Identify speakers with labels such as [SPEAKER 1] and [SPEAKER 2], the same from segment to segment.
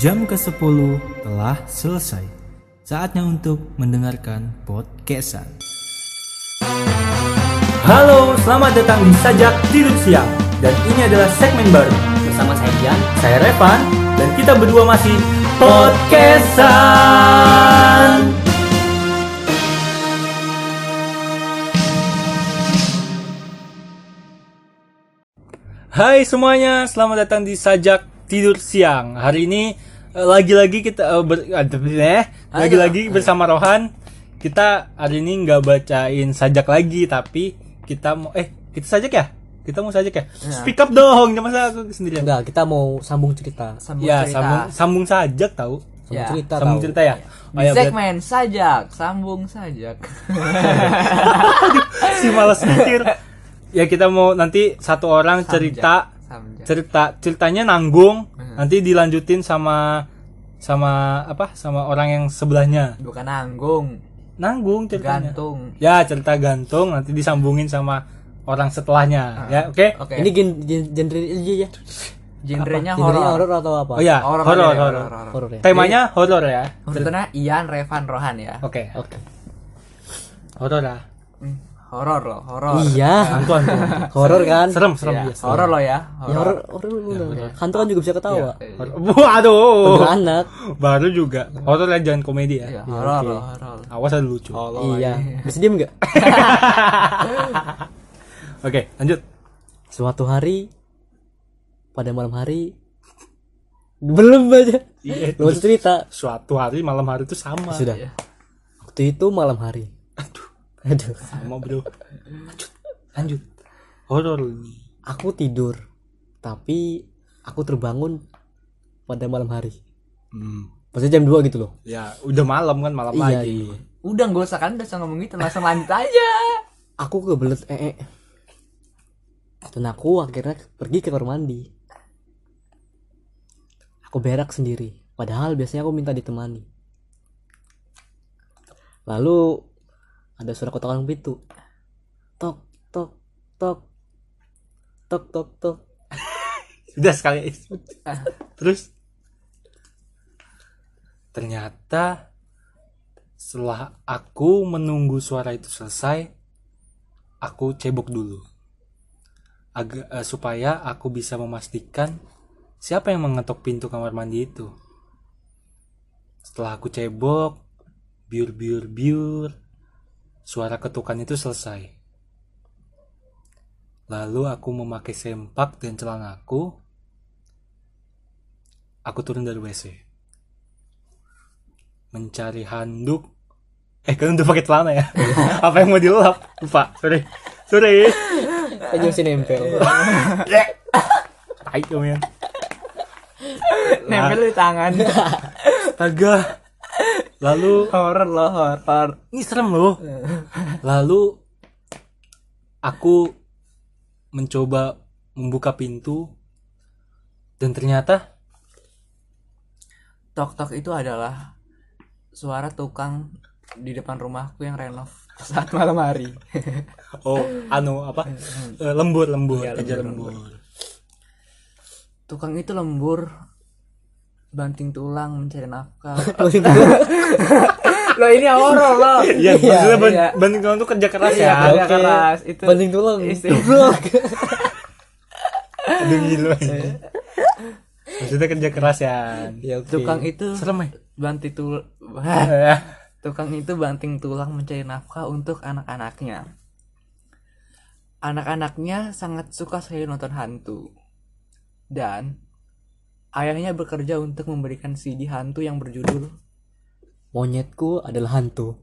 [SPEAKER 1] Jam ke-10 telah selesai. Saatnya untuk mendengarkan podcastan. Halo, selamat datang di Sajak Tidur Siang. Dan ini adalah segmen baru.
[SPEAKER 2] bersama saya Dian.
[SPEAKER 1] Saya Revan dan kita berdua masih podcastan. Hai semuanya, selamat datang di Sajak Tidur Siang. Hari ini eh, lagi-lagi kita eh, ber- aduh, eh, lagi-lagi bersama Rohan. Kita hari ini nggak bacain sajak lagi, tapi kita mau eh kita sajak ya? Kita mau sajak ya?
[SPEAKER 2] Iya.
[SPEAKER 1] Speak up dong, jangan masa aku sendirian.
[SPEAKER 2] Enggak, kita mau sambung cerita.
[SPEAKER 3] sambung
[SPEAKER 1] Ya,
[SPEAKER 3] cerita.
[SPEAKER 1] sambung sambung sajak tahu.
[SPEAKER 2] Sambung
[SPEAKER 3] Ya.
[SPEAKER 2] cerita
[SPEAKER 1] Sambung
[SPEAKER 2] tahu.
[SPEAKER 1] cerita ya. Oh,
[SPEAKER 3] Di
[SPEAKER 1] ya, berarti-
[SPEAKER 3] segmen sajak, sambung sajak.
[SPEAKER 1] si malas mikir. Ya kita mau nanti satu orang cerita
[SPEAKER 3] Samjak.
[SPEAKER 1] cerita ceritanya nanggung,
[SPEAKER 3] Hmm.
[SPEAKER 1] nanti dilanjutin sama sama apa? Sama orang yang sebelahnya.
[SPEAKER 3] Bukan nanggung,
[SPEAKER 1] Nanggung ceritanya.
[SPEAKER 3] gantung.
[SPEAKER 1] Ya, cerita gantung nanti disambungin sama orang
[SPEAKER 3] Ah.
[SPEAKER 1] setelahnya. Ya, oke?
[SPEAKER 3] Oke.
[SPEAKER 2] Ini gen, gen- genre aja ya.
[SPEAKER 3] genrenya
[SPEAKER 2] Apa? Genrenya
[SPEAKER 3] horor.
[SPEAKER 2] atau apa?
[SPEAKER 1] Oh ya,
[SPEAKER 3] Horor
[SPEAKER 1] horor horor.
[SPEAKER 3] aja deh, horor,
[SPEAKER 2] Horor ya.
[SPEAKER 1] Temanya horor ya.
[SPEAKER 3] Urutannya Ian, Revan, Rohan ya.
[SPEAKER 1] Oke.
[SPEAKER 2] Oke.
[SPEAKER 1] Horor ya.
[SPEAKER 3] Hmm, Horor loh, horor.
[SPEAKER 2] Iya.
[SPEAKER 1] Hantu hantu.
[SPEAKER 2] Horor kan?
[SPEAKER 1] Serem serem.
[SPEAKER 3] Ya,
[SPEAKER 1] iya, serem.
[SPEAKER 3] horor loh ya.
[SPEAKER 2] Ya horor, horor bener. Hantu kan juga bisa ketawa.
[SPEAKER 1] Iya. Horor. Waduh.
[SPEAKER 2] Kuntilanak.
[SPEAKER 1] Baru juga. Horor ya jangan komedi ya.
[SPEAKER 3] Iya, Oh. horor loh, horor.
[SPEAKER 1] Awas ada lucu.
[SPEAKER 2] Iya. Bisa diem enggak?
[SPEAKER 1] Oke, lanjut.
[SPEAKER 2] Suatu hari pada malam hari belum aja.
[SPEAKER 1] Iya.
[SPEAKER 2] Belum cerita.
[SPEAKER 1] Suatu hari malam hari itu sama.
[SPEAKER 2] Sudah. Waktu itu malam hari. Aduh. Aduh.
[SPEAKER 1] Sama, Bro. Lanjut. Lanjut. Horor.
[SPEAKER 2] Aku tidur. Tapi aku terbangun pada malam hari.
[SPEAKER 1] Hmm.
[SPEAKER 2] Maksudnya jam 2 gitu loh.
[SPEAKER 1] Ya, udah malam kan malam
[SPEAKER 2] Iya,
[SPEAKER 1] lagi.
[SPEAKER 2] iya.
[SPEAKER 3] Udah gak usah kan, udah usah ngomong gitu, langsung lanjut aja.
[SPEAKER 2] aku kebelet ee dan aku akhirnya pergi ke kamar mandi aku berak sendiri padahal biasanya aku minta ditemani lalu ada suara kotokan pintu tok tok tok tok tok tok
[SPEAKER 1] Sudah sekali itu. Terus ternyata setelah aku menunggu suara itu selesai, aku cebok dulu. Agar supaya aku bisa memastikan siapa yang mengetok pintu kamar mandi itu. Setelah aku cebok, biur biur biur, suara ketukan itu selesai. Lalu aku memakai sempak dan celanaku. Aku turun dari WC. Mencari handuk. Eh, kalian udah pakai celana ya? Apa yang mau dilap? Lupa, sorry. Sorry.
[SPEAKER 2] aja masih nempel
[SPEAKER 1] Tai kamu ya.
[SPEAKER 3] Nempel di tangan.
[SPEAKER 1] Astaga. Lalu,
[SPEAKER 3] horor loh, horor.
[SPEAKER 1] ini serem loh. Lalu, aku mencoba membuka pintu. Dan ternyata
[SPEAKER 3] Tok-tok itu adalah suara tukang di depan rumahku yang renov saat malam hari.
[SPEAKER 1] Oh, anu apa? Eh, lembur, lembur, kerja lembur.
[SPEAKER 3] tukang itu lembur banting tulang mencari nafkah lo ini horor lo
[SPEAKER 1] Iya, maksudnya ban
[SPEAKER 3] iya.
[SPEAKER 1] banding tulang tuh kerja keras
[SPEAKER 3] Iya,
[SPEAKER 1] ya.
[SPEAKER 3] kerja keras itu
[SPEAKER 2] banting tulang
[SPEAKER 3] Isi.
[SPEAKER 2] Goblok.
[SPEAKER 1] Aduh gila.
[SPEAKER 2] Iya.
[SPEAKER 1] maksudnya kerja keras ya.
[SPEAKER 2] ya oke
[SPEAKER 3] tukang itu
[SPEAKER 1] Serem ya.
[SPEAKER 3] banting tulang
[SPEAKER 2] Ah.
[SPEAKER 1] Eh,
[SPEAKER 3] tukang itu banting tulang mencari nafkah untuk anak-anaknya anak-anaknya sangat suka sekali nonton hantu dan ayahnya bekerja untuk memberikan CD hantu yang berjudul
[SPEAKER 2] monyetku adalah hantu.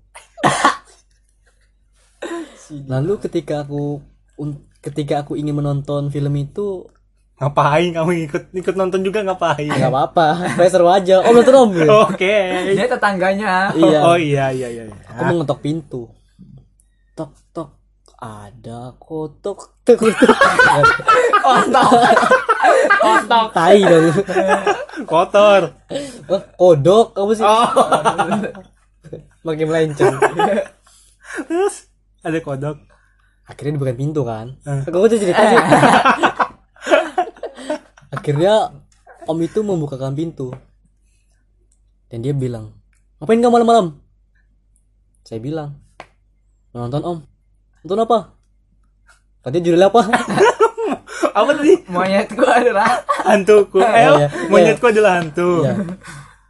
[SPEAKER 2] Lalu ketika aku un- ketika aku ingin menonton film itu
[SPEAKER 1] Ngapain kamu ikut ikut nonton juga ngapain?
[SPEAKER 2] nggak apa-apa, saya seru aja. Om nonton om. ya?
[SPEAKER 1] Oke.
[SPEAKER 3] dia tetangganya
[SPEAKER 2] Iya.
[SPEAKER 1] Oh iya iya iya.
[SPEAKER 2] Aku mau ngetok pintu. Tok tok ada kotok tok tok.
[SPEAKER 3] otak
[SPEAKER 2] Tai dong.
[SPEAKER 1] Kotor.
[SPEAKER 2] Wah, kodok kamu sih
[SPEAKER 1] Oh,
[SPEAKER 2] makin melenceng.
[SPEAKER 1] terus ada kodok.
[SPEAKER 2] Akhirnya dibukain pintu kan.
[SPEAKER 1] Eh.
[SPEAKER 2] Aku udah cerita sih. Akhirnya om itu membukakan pintu. Dan dia bilang, ngapain kamu malam-malam? Saya bilang, "Mau nonton om. Nonton apa? Katanya judulnya apa?
[SPEAKER 1] apa tadi
[SPEAKER 3] Monyetku adalah
[SPEAKER 1] hantuku eh
[SPEAKER 2] Iya, iya.
[SPEAKER 1] monyetku adalah hantu
[SPEAKER 2] Iya.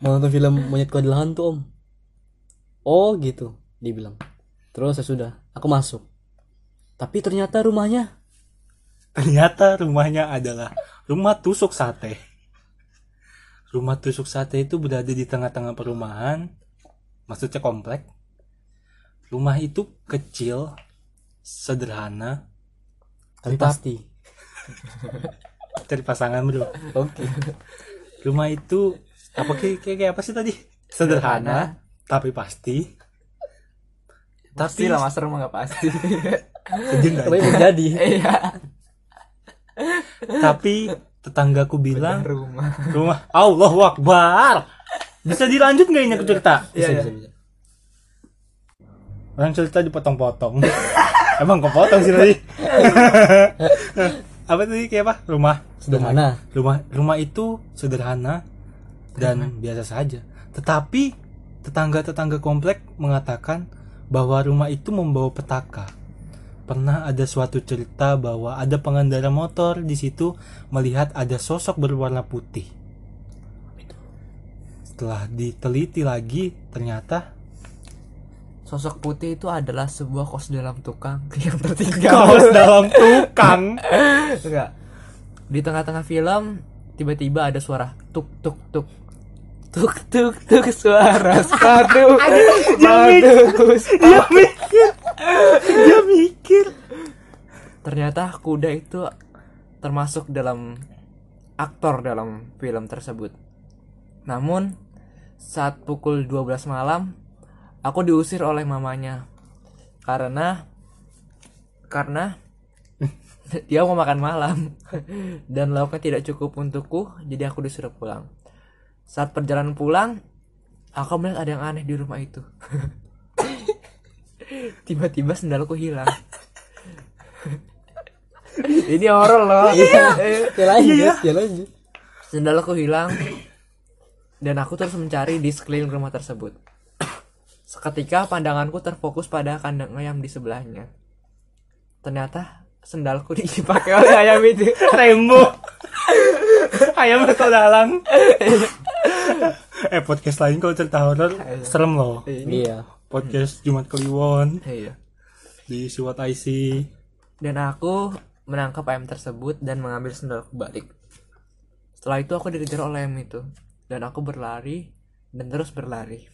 [SPEAKER 2] Mau nonton film Monyetku Adalah Hantu om. Oh gitu, dia bilang. Terus saya sudah, aku masuk. Tapi ternyata rumahnya
[SPEAKER 1] ternyata rumahnya adalah rumah tusuk sate rumah tusuk sate itu berada di tengah-tengah perumahan maksudnya komplek rumah itu kecil sederhana
[SPEAKER 2] tapi
[SPEAKER 1] Tetap.
[SPEAKER 2] pasti.
[SPEAKER 1] cari pasangan bro
[SPEAKER 2] Oke.
[SPEAKER 1] rumah itu apa kayak, kayak, kayak apa sih tadi sederhana tapi pasti
[SPEAKER 3] Pasti
[SPEAKER 1] tapi
[SPEAKER 3] lah master mah nggak pasti
[SPEAKER 1] legenda.
[SPEAKER 2] Tapi menjadi.
[SPEAKER 3] Iya
[SPEAKER 1] tapi tetanggaku bilang
[SPEAKER 3] Rumah
[SPEAKER 1] rumah Allah Akbar bisa dilanjut nggak ini aku cerita
[SPEAKER 2] Bisa,
[SPEAKER 3] Iya,
[SPEAKER 2] bisa,
[SPEAKER 3] iya.
[SPEAKER 2] bisa.
[SPEAKER 1] Orang cerita dipotong-potong. Emang kepotong sih tadi. apa tadi kayak apa? Rumah.
[SPEAKER 2] Sederhana.
[SPEAKER 1] Rumah rumah itu sederhana dan biasa saja. Tetapi tetangga-tetangga komplek mengatakan bahwa rumah itu membawa petaka. Pernah ada suatu cerita bahwa ada pengendara motor di situ melihat ada sosok berwarna putih. Setelah diteliti lagi, ternyata
[SPEAKER 3] Sosok putih itu adalah sebuah kos dalam tukang yang tertinggal
[SPEAKER 1] kaos dalam tukang.
[SPEAKER 3] Enggak. Di tengah-tengah film tiba-tiba ada suara tuk tuk tuk. Tuk tuk tuk suara sepatu. Bagus.
[SPEAKER 1] dia mikir dia mikir
[SPEAKER 3] Ternyata kuda itu termasuk dalam aktor dalam film tersebut. Namun saat pukul 12 malam aku diusir oleh mamanya karena karena dia mau makan malam dan lauknya tidak cukup untukku jadi aku disuruh pulang saat perjalanan pulang aku melihat ada yang aneh di rumah itu tiba-tiba sendalku hilang ini horor loh
[SPEAKER 2] Ya lanjut, ya lanjut.
[SPEAKER 3] sendal aku hilang dan aku terus mencari di sekeliling rumah tersebut. Seketika pandanganku terfokus pada kandang ayam di sebelahnya. Ternyata sendalku dipakai oleh ayam itu.
[SPEAKER 1] Rembo ayam atau dalang eh podcast lain kalau cerita horor serem loh
[SPEAKER 2] Iya.
[SPEAKER 1] podcast Jumat Kliwon
[SPEAKER 3] Iya.
[SPEAKER 1] di Siwat IC
[SPEAKER 3] Dan aku menangkap ayam tersebut dan mengambil sendalku balik. Setelah itu aku dikejar oleh ayam itu dan aku berlari dan terus berlari.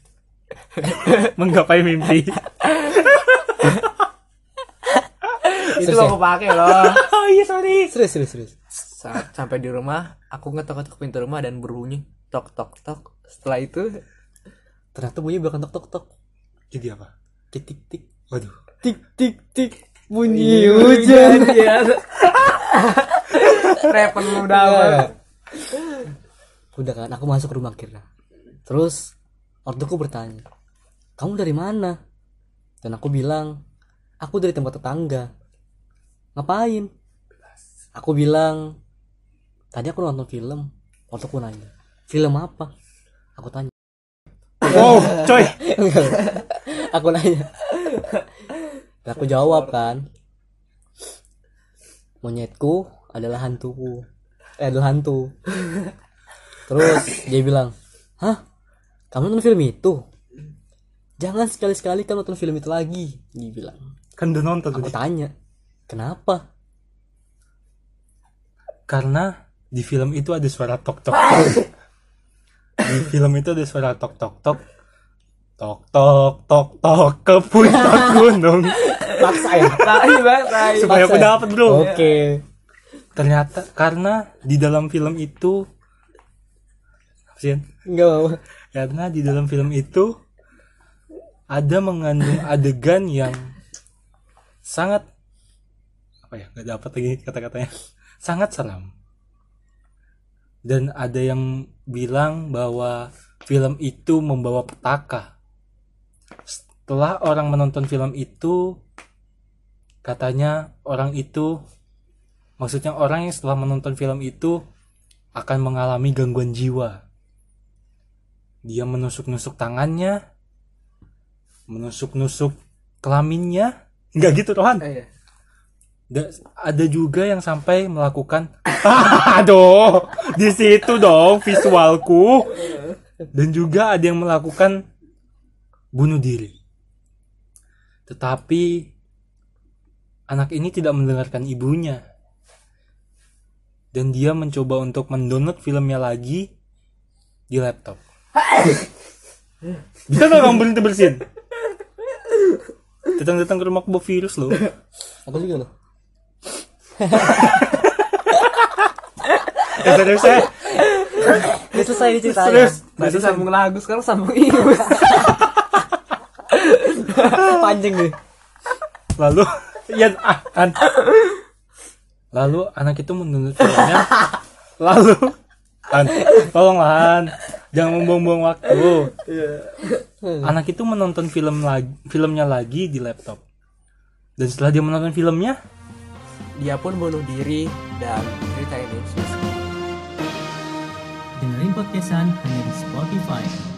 [SPEAKER 1] menggapai mimpi
[SPEAKER 3] Itu
[SPEAKER 2] Selesai.
[SPEAKER 3] aku pakai loh.
[SPEAKER 2] ya?
[SPEAKER 1] oh iya sorry
[SPEAKER 2] Serius, serius, serius.
[SPEAKER 3] Saat sampai di rumah, aku ngetok-ngetok pintu rumah dan berbunyi tok tok tok. Setelah itu
[SPEAKER 2] Ternyata bunyi bukan tok tok tok.
[SPEAKER 1] jadi apa
[SPEAKER 2] Tik tik tik.
[SPEAKER 1] waduh
[SPEAKER 2] Tik tik tik. Bunyi hujan.
[SPEAKER 3] Repot lu udah amat.
[SPEAKER 2] Udah kan, aku masuk rumah akhirnya. Terus ortuku bertanya, kamu dari mana? Dan aku bilang, aku dari tempat tetangga. Ngapain? Aku bilang, tadi aku nonton film. Ortuku nanya, film apa? Aku tanya.
[SPEAKER 1] wow coy
[SPEAKER 2] aku nanya Dan aku jawab kan monyetku adalah hantuku eh adalah hantu terus dia bilang hah kamu nonton film itu jangan sekali-sekali kamu nonton film itu lagi dia bilang
[SPEAKER 1] kan udah nonton
[SPEAKER 2] aku
[SPEAKER 1] tadi
[SPEAKER 2] tanya kenapa
[SPEAKER 1] karena di film itu ada suara tok tok di film itu ada suara tok tok tok tok tok tok tok ke puncak gunung
[SPEAKER 2] paksa ya
[SPEAKER 3] Tai banget, tai.
[SPEAKER 1] supaya
[SPEAKER 2] Paksa. ya?
[SPEAKER 1] aku dapat bro
[SPEAKER 2] oke
[SPEAKER 1] ternyata karena di dalam film itu Apa sih, Yan?
[SPEAKER 2] nggak apa
[SPEAKER 1] karena di dalam film itu ada mengandung adegan yang sangat apa ya nggak dapat lagi kata-katanya sangat seram dan ada yang bilang bahwa film itu membawa petaka setelah orang menonton film itu katanya orang itu maksudnya orang yang setelah menonton film itu akan mengalami gangguan jiwa Dia menusuk-nusuk tangannya, menusuk-nusuk kelaminnya. Enggak gitu, Rohan.
[SPEAKER 3] Eh, iya.
[SPEAKER 1] Da- ada juga yang sampai melakukan aduh di situ dong visualku dan juga ada yang melakukan bunuh diri tetapi anak ini tidak mendengarkan ibunya dan dia mencoba untuk mendownload filmnya lagi di laptop bisa nggak kamu berhenti bersin datang-datang ke rumah bawa virus loh
[SPEAKER 2] Aku juga loh.
[SPEAKER 1] Eh, serius ya?
[SPEAKER 2] Udah selesai nih ceritanya.
[SPEAKER 1] Serius?
[SPEAKER 3] Tadi sambung lagu sekarang sambung ingus.
[SPEAKER 2] Panjang nih.
[SPEAKER 1] Lalu ya ah, an. Lalu anak itu menurut filmnya. Lalu An, tolong Lan, jangan membuang-buang waktu. Anak itu menonton film lagi, filmnya lagi di laptop. Dan setelah dia menonton filmnya,
[SPEAKER 3] Dia pun bunuh diri dan cerita ini selesai.
[SPEAKER 4] Dengerin podcastan hanya di Spotify.